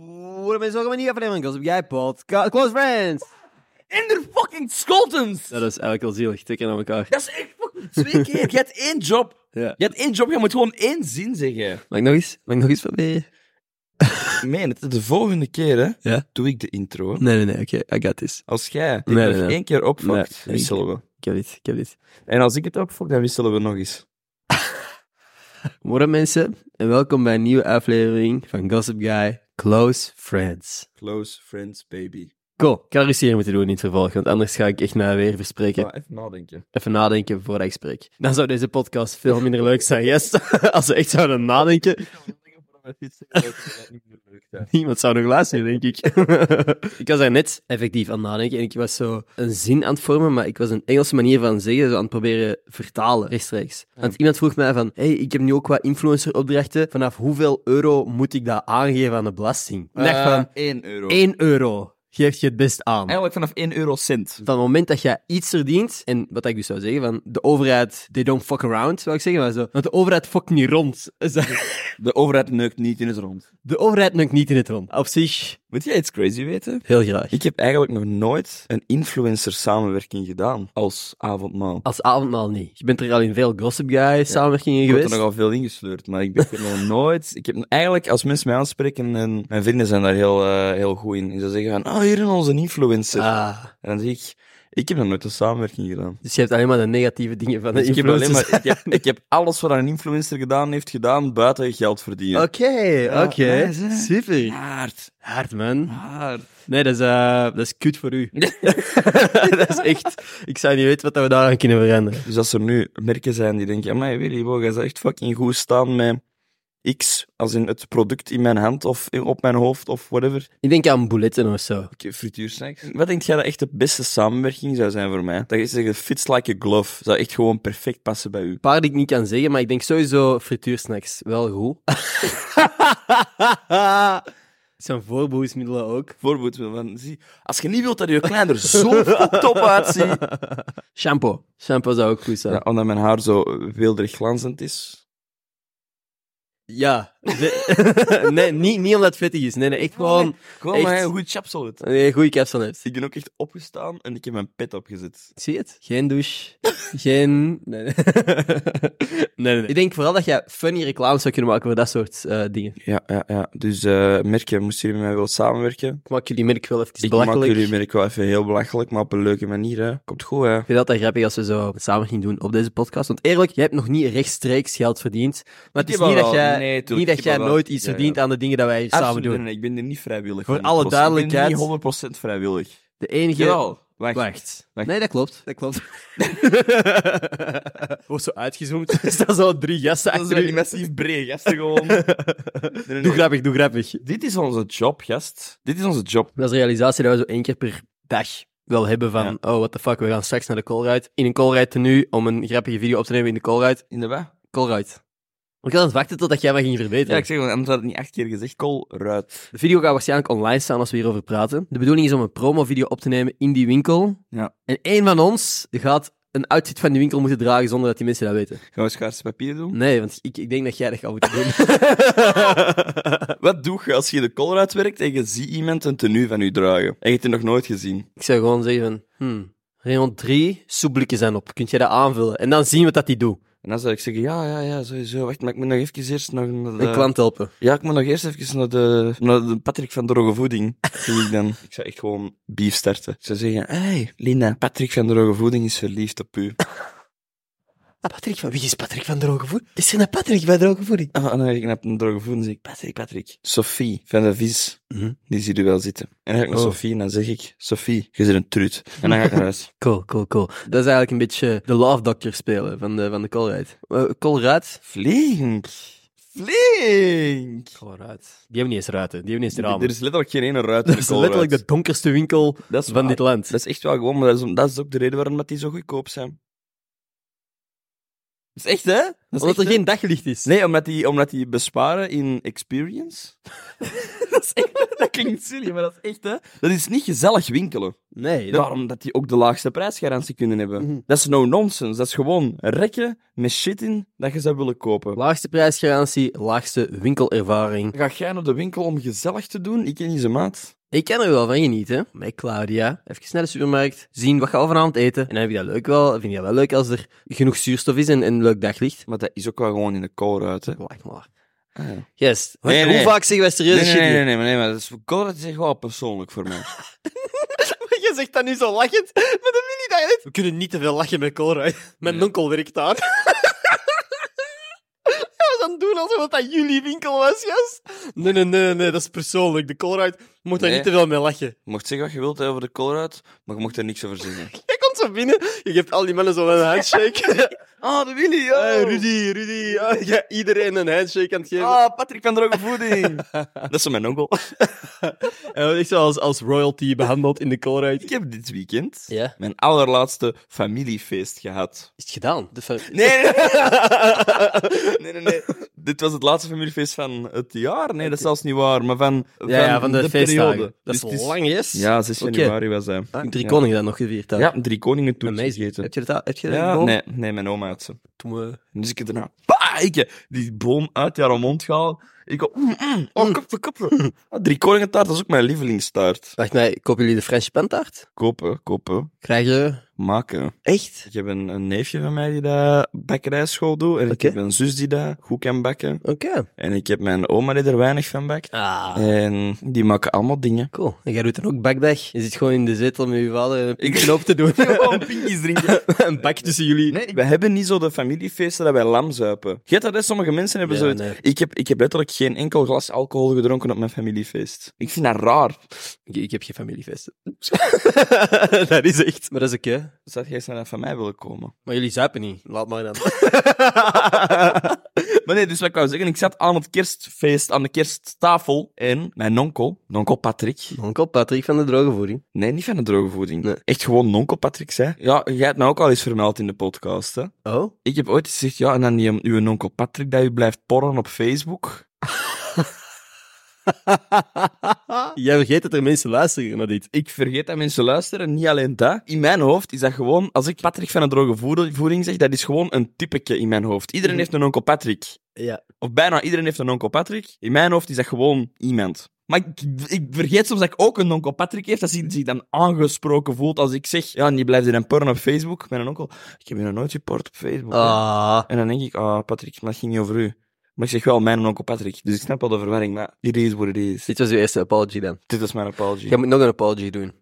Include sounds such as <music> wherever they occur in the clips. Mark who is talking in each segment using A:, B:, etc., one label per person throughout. A: horen mensen ook op een nieuwe aflevering van Gossip Guy Podcast Close Friends.
B: In de fucking Scotums!
A: Dat is eigenlijk al zielig, tikken aan elkaar.
B: Dat is echt fucking twee keer. Je hebt één job.
A: Ja.
B: Je hebt één job, je moet gewoon één zin zeggen.
A: Mag ik nog eens? Mag ik nog eens proberen?
B: Ik meen het, de volgende keer hè,
A: Ja?
B: doe ik de intro.
A: Nee, nee, nee, oké, I got this.
B: Als jij dit
A: Nee,
B: nog
A: nee, nee.
B: één keer opvakt,
A: Nee.
B: wisselen we.
A: Ik heb dit, ik heb dit.
B: En als ik het opvak, dan wisselen we nog eens.
A: Morgen mensen, en welkom bij een nieuwe aflevering van Gossip Guy Close Friends.
B: Close friends, baby.
A: Cool, ik had er iets hier moeten doen in het vervolg, want anders ga ik echt mij weer verspreken.
B: Maar even
A: <laughs>
B: nadenken.
A: Even nadenken voordat ik spreek. Dan zou deze podcast veel minder leuk zijn, yes. <laughs> Als we echt zouden nadenken, <laughs> Niemand zou nog luisteren, denk ik. <laughs> ik was daar net effectief aan het nadenken en ik was zo een zin aan het vormen, maar ik was een Engelse manier van zeggen, zo aan het proberen vertalen, rechtstreeks. Want iemand vroeg mij van, hey, ik heb nu ook wat influenceropdrachten, vanaf hoeveel euro moet ik dat aangeven aan de belasting? Ik dacht van,
B: 1 Eh, euro.
A: 1 euro geef je het best aan.
B: Eigenlijk vanaf 1 eurocent.
A: Van het moment dat jij iets verdient, en wat ik dus zou zeggen, van de overheid, they don't fuck around, zou ik zeggen, maar zo. Want de overheid fuck niet rond. <laughs>
B: De overheid neukt niet in het rond.
A: De overheid neukt niet in het rond. Op zich,
B: Moet jij iets crazy weten?
A: heel graag.
B: Ik heb eigenlijk nog nooit een influencer samenwerking gedaan als avondmaal.
A: Als avondmaal niet. Je bent er al in veel Gossip Guy samenwerkingen
B: Ik heb
A: geweest.
B: er nogal veel ingesleurd, maar ik ben er nog <laughs> nooit. Ik heb eigenlijk, als mensen mij aanspreken, en mijn vrienden zijn daar heel, eh, heel goed in. En ze zeggen van, ah, hier is onze influencer.
A: Ah,
B: En dan zeg ik, ik heb nog nooit een samenwerking gedaan.
A: dus je hebt alleen maar de negatieve dingen van de
B: Dus ik, heb alleen
A: influencers.
B: maar, ik, heb, ik heb alles wat een influencer gedaan heeft gedaan, buiten geld
A: <laughs>
B: verdienen.
A: Oké, oké.
B: nice, hè?
A: Super.
B: Hard,
A: Hard, man.
B: hard.
A: Nee, dat is, eh, dat is kut voor u. <laughs> dat is echt... Ik zou niet weten wat we daaraan kunnen veranderen.
B: Dus als er nu merken zijn die denken, amai Willy, wow, jij zou echt fucking goed staan met X, als in het product in mijn hand of in- op mijn hoofd of whatever.
A: Ik denk aan bouletten of zo.
B: Ik heb frituursnacks. Wat denk jij dat echt de beste samenwerking zou zijn voor mij? Dat is zeggen, fits like a glove. Zou echt gewoon perfect passen bij u.
A: Een paar die ik niet kan zeggen, maar ik denk sowieso frituursnacks. Wel <laughs> goed. Zo'n voorbehoedsmiddelen ook.
B: Bijvoorbeeld, van, zie, als je niet wilt dat je <laughs> kleiner zo fucked up uitziet...
A: Shampoo. Shampoo zou ook goed zijn.
B: Ja, omdat mijn haar zo weelderig glanzend is.
A: Ja. Ze- <laughs> nee, niet, niet omdat het vettig is. Nee, nee, echt gewoon...
B: Gewoon
A: echt-
B: maar een goed chapsel het.
A: Nee, goede capsule hebt.
B: Ik ben ook echt opgestaan en ik heb mijn pet opgezet.
A: Zie je het? Geen douche. Geen... Nee, <laughs> nee. nee, nee, nee. Ik denk vooral dat jij funny reclames zou kunnen maken voor dat soort eh, dingen.
B: Ja, ja, ja. Dus eh merken, moesten jullie met mij willen samenwerken?
A: Ik maak jullie merk wel even
B: Ik
A: belachelijk.
B: maak jullie merk wel even heel belachelijk, maar op een leuke manier. Hè. Komt goed, hè?
A: Ik vind het altijd grappig als we zo samen gingen doen op deze podcast. Want eerlijk, jij hebt nog niet rechtstreeks geld verdiend. Maar het
B: Ik
A: is
B: heb
A: niet
B: al
A: dat
B: wel.
A: jij,
B: Nee, tuurlijk,
A: niet
B: ik
A: dat
B: heb
A: jij
B: al wel.
A: nooit iets
B: Ja, ja.
A: verdient aan de dingen dat wij hier samen
B: Absoluut,
A: doen.
B: nee, nee, ik ben er niet vrijwillig
A: Voor
B: van
A: alle
B: gekozen.
A: duidelijkheid.
B: Ik ben niet 100% vrijwillig.
A: De enige...
B: Jawel. Wacht.
A: Wacht.
B: Wacht.
A: Nee, dat klopt. Dat klopt. Wordt zo <laughs> uitgezoomd. Er staan zo drie gasten
B: <laughs> Dat
A: achter
B: zijn
A: u.
B: die massief breed gasten
A: <laughs>
B: gewoon. Nee, nee,
A: Doe
B: nee.
A: grappig, doe grappig.
B: Dit is onze job, gast. Dit is onze job.
A: Dat is de realisatie dat we zo één keer per dag wel hebben van, oh, what the fuck, we gaan straks naar de callride. In een callride tenue om een grappige video op te nemen in de callride.
B: In de weg?
A: Callride. Ik was aan het wachten totdat jij mij ging verbeteren.
B: Ja, ik zeg, want anders had het niet acht keer gezegd. Kool, ruit.
A: De video gaat waarschijnlijk online staan als we hierover praten. De bedoeling is om een promovideo op te nemen in die winkel.
B: Ja.
A: En één van ons gaat een outfit van die winkel moeten dragen zonder dat die mensen dat weten.
B: Gaan we schaarse papier doen? <laughs>
A: Nee, want ik, ik denk dat jij dat gaat moeten doen.
B: Wat doe je als je de kool uitwerkt en je ziet iemand een tenue van u dragen? En je hebt het nog nooit gezien.
A: Ik zou gewoon zeggen van, hmm, rayon 3, soepblikken zijn op. Kunt jij dat aanvullen? En dan zien we dat die doet.
B: En dan zou ik zeggen, ja, ja, ja, sowieso. Wacht, maar ik moet nog even eerst nog... Naar de...
A: Een klant helpen.
B: Ja, ik moet nog eerst even naar de, naar de Patrick van Droge Voeding. <laughs> Zie ik dan. Ik zou echt gewoon beef starten. Ik zou zeggen, hey, Linda, Patrick van Droge Voeding is verliefd op u.
A: Ah, Patrick van, wie is Patrick van Drogevoering? Is er een Patrick bij
B: <laughs>
A: Drogevoering?
B: En dan ga Ah, ik naar de Droge Voeding en zeg ik, Patrick, Patrick. Sophie van de Vis,
A: Mhm.
B: die ziet u wel zitten. En dan ga ik naar
A: Oh.
B: Sophie en dan zeg ik, Sophie, je bent een trut. En dan ga ik naar <laughs> huis.
A: Cool, cool, cool. Dat is eigenlijk een beetje de love doctor spelen van de, van de Colruyt. Eh, Colruyt?
B: Flink. Flink.
A: Colruyt. Die hebben niet eens ruiten, die hebben niet eens
B: Er
A: ramen.
B: is letterlijk geen ene ruit. in
A: Dat is
B: Colruyt.
A: letterlijk de donkerste winkel
B: Dat is
A: van
B: waar.
A: dit land.
B: Dat is echt wel gewoon, maar dat is, om- dat is ook de reden waarom dat die zo goedkoop zijn. Dat is echt, hè? Dat is
A: Omdat
B: echt,
A: er
B: hè?
A: geen daglicht is.
B: Nee, omdat die, omdat die besparen in experience. <laughs> dat, is echt, dat klinkt silly, maar dat is echt, hè. Dat is niet gezellig winkelen.
A: Nee, dat... Mhm.
B: Daarom dat Mhm. die ook de laagste prijsgarantie kunnen hebben. Dat is no nonsense. Dat is gewoon rekken met shit in dat je zou willen kopen.
A: laagste prijsgarantie, laagste winkelervaring.
B: Ga jij naar de winkel om gezellig te doen? Ik ken niet zijn maat.
A: Ik kan er wel van genieten. Met Claudia. Even naar de supermarkt. Zien wat gaan we vanavond eten. En dan heb ik dat leuk wel. Vind je dat wel leuk als er genoeg zuurstof is en en een leuk daglicht?
B: Maar dat is ook wel gewoon in de kou uit, hè.
A: Wacht maar.
B: Ah, ja.
A: Yes.
B: Nee,
A: Hoe
B: nee.
A: vaak zeggen wij serieus
B: Nee, nee,
A: shit
B: nee,
A: hier?
B: nee, nee, maar nee, maar dat is, kou is echt wel persoonlijk voor mij.
A: <laughs> Je zegt dat nu zo lachend, maar dat vind ik eigenlijk. We kunnen niet te veel lachen met Colruyt. Mijn onkel werkt daar. <laughs> Hij was aan het doen alsof dat jullie winkel was, yes. Nee, nee, nee, nee, dat is persoonlijk. De Colruyt moet daar
B: Nee.
A: niet te veel mee lachen.
B: Je mocht zeggen wat je wilt hè, over de koolruit, maar je mocht er niks over zeggen.
A: Jij komt zo binnen, je geeft al die mannen zo een <laughs> handshake.
B: <laughs> Ah, de Willy, ja.
A: Hey, Eh, Rudy, Rudy. Ah, ja, iedereen een handshake aan het geven.
B: Ah, Patrick van Droge Voeding. <laughs> dat is zo mijn onkel.
A: En wordt echt zo als, als royalty behandeld in de Colruyt.
B: Ik heb dit weekend
A: Ja.
B: mijn allerlaatste familiefeest gehad.
A: Is het gedaan?
B: Nee, nee,
A: <laughs>
B: nee. nee, nee, nee. Dit was het laatste familiefeest van het jaar. Nee, dat is zelfs niet waar, maar van,
A: Ja, ja, van de, feestdagen.
B: periode.
A: Dat is
B: Dus het is-
A: lang, yes.
B: Ja, 6
A: Oké. Ah,
B: januari was hij.
A: Drie
B: Ja.
A: koningen dat nog gevierd had.
B: Ja, drie koningen toen
A: Amazing.
B: gegeten.
A: Heb je dat? Heb je dat?
B: Ja,
A: gedaan?
B: nee, nee, mijn oma had ze.
A: Toen we...
B: En Dus ik heb daarna, bah, ik heb die boom uit haar mond gehaald. Ik go, mm, mm, oh, koppen, koppen. Ah, drie koringentaart, dat is ook mijn lievelingstaart.
A: Wacht, maar kopen jullie de French pantaart?
B: Kopen, kopen,
A: Krijg je...
B: maken.
A: Echt?
B: Ik heb een, een neefje van mij die dat bakkerijschool doet. En ik
A: Oké.
B: heb een zus die dat goed kan bakken.
A: Oké.
B: En ik heb mijn oma die er weinig van bakt.
A: Ah,
B: En die maken allemaal
A: <laughs>
B: dingen.
A: cool. En jij doet dan ook bakdag? Je zit gewoon in de zetel met je vader een
B: Ik-
A: pinkje op te <laughs> doen.
B: Gewoon pintjes drinken.
A: een bak tussen jullie.
B: Nee, <laughs> we hebben niet zo de familiefeesten dat wij lam zuipen. Je hebt dat, hè? sommige mensen hebben
A: Ja,
B: zoiets.
A: nee.
B: Ik, heb, ik heb letterlijk geen enkel glas alcohol gedronken op mijn familiefeest. Ik vind dat raar.
A: Ik, ik heb geen familiefeesten. <laughs> dat is echt. Maar dat is oké.
B: Zou jij snel van mij willen komen? <laughs>
A: Maar jullie zuipen niet. Laat maar <laughs> dan.
B: maar nee, dus wat ik wou zeggen, ik zat aan het kerstfeest, aan de kersttafel. En mijn onkel, onkel Patrick.
A: Onkel Patrick van de drogevoering.
B: Nee, niet van de droge voeding.
A: Nee.
B: Echt gewoon onkel Patrick, zei. Ja, jij hebt mij ook al eens vermeld in de podcast, hè.
A: Oh?
B: Ik heb ooit eens gezegd, ja, en dan die, um, uw onkel Patrick, dat u blijft porren op Facebook.
A: <laughs> Jij vergeet dat er mensen luisteren naar dit.
B: Ik vergeet dat mensen luisteren, niet alleen dat. In mijn hoofd is dat gewoon, als ik Patrick van de droge voeder- voeding zeg, dat is gewoon een typeke in mijn hoofd. Iedereen heeft een onkel Patrick.
A: Mhm. Ja.
B: Of bijna iedereen heeft een onkel Patrick. In mijn hoofd is dat gewoon iemand. Maar ik, ik vergeet soms dat ik ook een onkel Patrick heb, dat hij zich dan aangesproken voelt als ik zeg, ja, en die blijft in een porn op Facebook. Mijn onkel, ik heb je nog nooit geport op Facebook. hè."
A: Ah.
B: En dan denk ik, ah, Patrick, maar dat ging niet over u. Maar ik zeg wel mijn onkel Patrick. Dus ik snap wel de verwarring, maar it is what it is.
A: Dit was uw eerste apology dan.
B: Dit is mijn apology.
A: Jij moet nog een apology doen.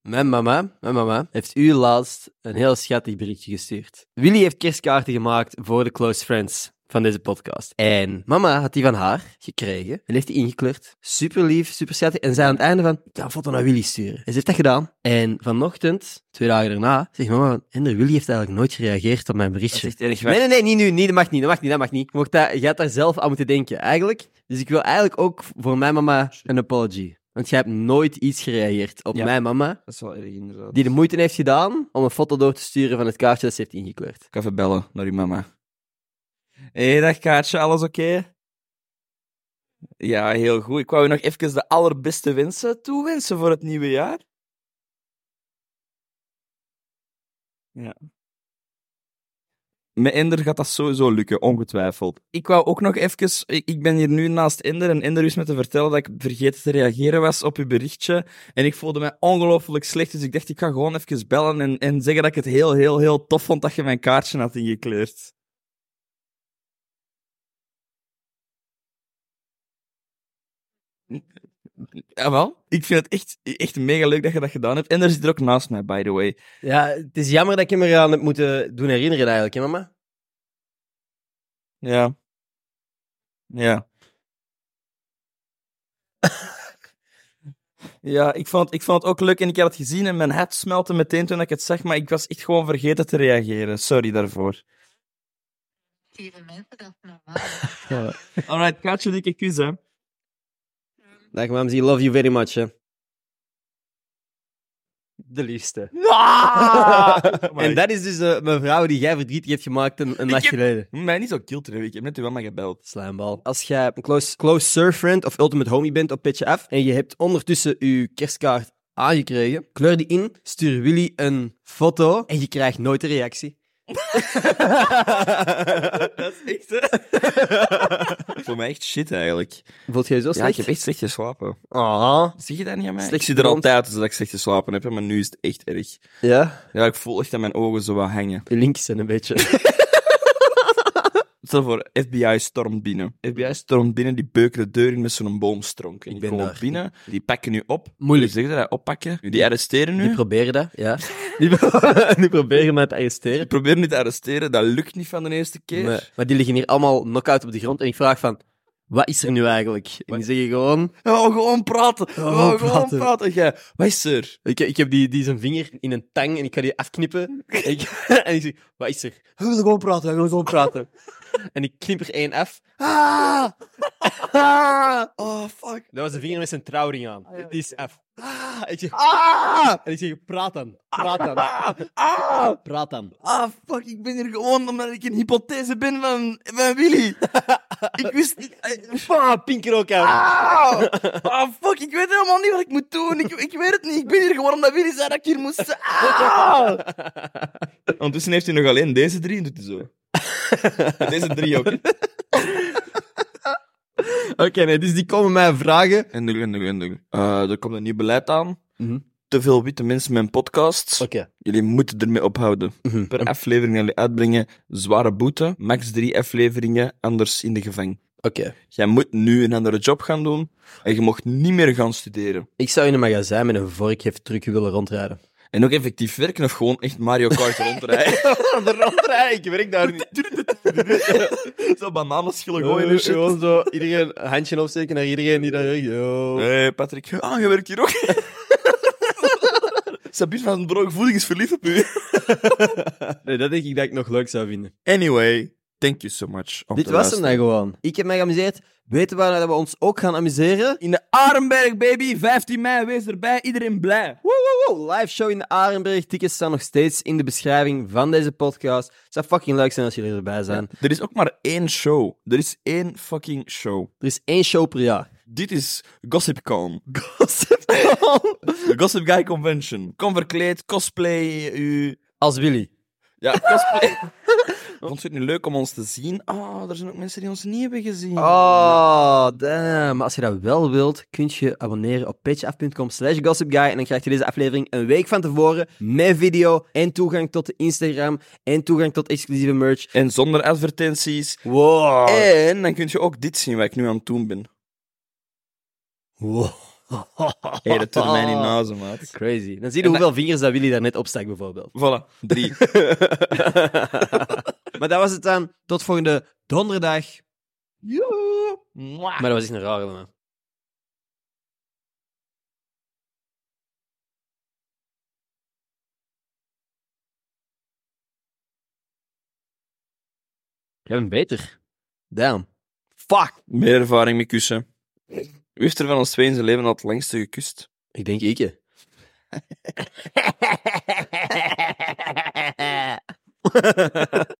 A: Mijn mama, mijn mama heeft u laatst een heel schattig berichtje gestuurd. Willy heeft kerstkaarten gemaakt voor de close friends van deze podcast. En mama had die van haar gekregen en heeft die ingekleurd. Super lief, super schattig. En zei aan het einde van, ik ga een foto naar Willy sturen. En ze heeft dat gedaan. En vanochtend, twee dagen daarna, zegt mama, Ender, Willy heeft eigenlijk nooit gereageerd op mijn
B: Dat is
A: berichtje.
B: echt erg
A: Nee, nee, nee, niet nu. Nee, dat mag niet, dat mag niet, dat mag niet. Je, mocht daar, je had daar zelf aan moeten denken, eigenlijk. Dus ik wil eigenlijk ook voor mijn mama een apology. Want jij hebt nooit iets gereageerd op
B: Ja.
A: mijn mama,
B: Dat is wel erg, inderdaad.
A: die de moeite heeft gedaan om een foto door te sturen van het kaartje dat ze heeft ingekleurd.
B: Ik ga even bellen naar uw mama. Hé, hey, dag Kaatje, alles oké? Ja, heel goed. Ik wou u nog even de allerbeste wensen toewensen voor het nieuwe jaar. Ja. Met Ender gaat dat sowieso lukken, ongetwijfeld. Ik wou ook nog even... Ik ik ben hier nu naast Ender en Ender is me te vertellen dat ik vergeten te reageren was op uw berichtje. En ik voelde mij ongelooflijk slecht, dus ik dacht, ik ga gewoon even bellen en, en zeggen dat ik het heel, heel, heel tof vond dat je mijn kaartje had ingekleurd. Jawel. Ik vind het echt, echt mega leuk dat je dat gedaan hebt. En er zit er ook naast mij, by the way.
A: Ja, het is jammer dat ik hem eraan heb moeten doen herinneren eigenlijk, hè mama?
B: Ja. Ja. <laughs> ja, ik vond, ik vond het ook leuk en ik had het gezien en mijn hart smelte meteen toen ik het zag, maar ik was echt gewoon vergeten te reageren. Sorry daarvoor.
C: Lieve mensen, dat is normaal.
B: <laughs> Alright, Kaatje, dikke kus, hè.
A: Dag mams, I love you very much, hè. de liefste.
B: en <laughs> Oh
A: en dat is dus eh, mijn vrouw die jij verdrietig hebt gemaakt een, een nacht
B: heb-
A: geleden.
B: Moet mij niet zo kill trekken, ik heb net uw mama gebeld.
A: Slijmbal. Als jij een close, close surfriend of ultimate homie bent op Petje Af en je hebt ondertussen je kerstkaart aangekregen, kleur die in, stuur Willy een foto en je krijgt nooit een reactie.
B: <laughs> Dat is echt, hè? <laughs> Voor mij echt shit, eigenlijk.
A: Voelt jij je zo
B: Ja, ik
A: slecht?
B: heb echt slecht geslapen.
A: Ah.
B: Zeg je dat niet aan mij?
A: Slecht
B: ik zie er
A: gedroomd.
B: altijd uit als dat ik slecht geslapen heb, hè, maar nu is het echt erg.
A: Ja,
B: Ja, ik voel echt dat mijn ogen zo wat hangen.
A: je links zijn een <laughs> beetje.
B: Stel voor, FBI stormt binnen. FBI stormt binnen, die beuken de deur in met zo'n boomstronk. En
A: Ik
B: die
A: ben
B: komen
A: daar.
B: binnen, die pakken nu op.
A: Moeilijk.
B: Zeg je dat, oppakken. Die arresteren nu.
A: Nu proberen dat, ja. Nu pro- <laughs> Nu proberen mij te arresteren.
B: Die proberen niet te arresteren, dat lukt niet van de eerste keer.
A: Nee, Maar die liggen hier allemaal knock-out op de grond en ik vraag van, wat is er nu eigenlijk? En die zeggen gewoon,
B: Oh, gewoon praten. Oh,
A: gewoon
B: gewoon praten.
A: praten.
B: Jij, wat is er?
A: ik, ik heb die, die zijn vinger in een tang en ik ga die
B: <laughs>
A: afknippen. En ik, <laughs> en ik zeg, wat is er? We willen gewoon praten, we willen gewoon
B: <laughs>
A: praten. en ik knip er één af. Ah! Ah!
B: Oh, fuck.
A: Dat was de vinger met zijn trouwring aan. Die is af. Ah! Ik zeg,
B: Ah!
A: en ik zeg, praat dan, praat dan,
B: Ah! Ah!
A: praat dan.
B: Ah, fuck, ik ben hier gewoon omdat ik een hypothese ben van, van <laughs> Willy. ik wist niet...
A: Pah, pinker ook aan.
B: Ah! Ah, fuck, ik weet helemaal niet wat ik moet doen. Ik, ik weet het niet. Ik ben hier gewoon omdat Willy zei dat ik hier moest... Ah! Ondertussen heeft hij nog alleen deze drie en doet hij
A: <laughs>
B: zo. deze drie ook.
A: <laughs> Oké, nee, dus die komen mij vragen.
B: En doe, en doe, en doe. Eh, er komt een nieuw beleid aan.
A: Mhm.
B: Te veel witte mensen met een podcast.
A: Oké. Mhm.
B: Jullie moeten ermee ophouden. Per aflevering dat jullie uitbrengen, zware boete. Max drie afleveringen, anders in de gevangen.
A: Oké.
B: Jij moet nu een andere job gaan doen. En je mocht niet meer gaan studeren.
A: Ik zou in een magazijn met een vorkgeeft truc willen rondrijden.
B: En ook effectief werken of gewoon echt Mario Kart rondrijden.
A: <laughs> rondrijden? Ik werk daar niet.
B: zo bananenschillen
A: Eh,
B: gooien en shit.
A: Gewoon zo, iedereen een handje opsteken naar iedereen die daar zegt, yo.
B: hey, Patrick. Ah, je werkt hier ook. <laughs> Sabine van Broek Voeding is verliefd op u.
A: Nee, dat denk ik dat ik nog leuk zou vinden.
B: Anyway, thank you so much. om
A: Dit
B: te
A: was hem
B: luisteren.
A: dan gewoon. Ik heb mij geamuseerd. Weten we waar dat we ons ook gaan amuseren?
B: In de Arenberg, baby. 15 mei, wees erbij. Iedereen blij.
A: Woe, woe, woe. Live show in de Arenberg. Tickets staan nog steeds in de beschrijving van deze podcast. Het zou fucking leuk zijn als jullie erbij zijn.
B: Er is ook maar één show. Er is één fucking show.
A: Er is één show per jaar. <laughs>
B: Dit is GossipCon.
A: Gossip.
B: De Gossip Guy Convention. Kom verkleed, cosplay, u...
A: Als Willy.
B: Ja,
A: <laughs>
B: cosplay. Vond je het nu leuk om ons te zien? Ah, er zijn ook mensen die ons niet hebben gezien.
A: Oh, damn. Maar als je dat wel wilt, kun je abonneren op patreon.com slash gossipguy en dan krijg je deze aflevering een week van tevoren met video en toegang tot de Instagram en toegang tot exclusieve merch.
B: En zonder advertenties.
A: Wow.
B: <laughs> En dan kun je ook dit zien, wat ik nu aan het doen ben.
A: wow.
B: Hé, dat doet mij niet
A: Ah.
B: nazen, maat.
A: Crazy. Dan zie je
B: En dat-
A: hoeveel vingers dat Willy daar net opstak,
B: <laughs>
A: bijvoorbeeld. <laughs>
B: Voilà, drie.
A: maar dat was het dan. Tot volgende donderdag.
B: Joe. Mwah.
A: Maar dat was echt een rare, man. Jij bent beter. Damn. Fuck.
B: Meer ervaring met kussen. Wie heeft er van ons twee in zijn leven al het langste gekust?
A: Ik denk ik je. <laughs>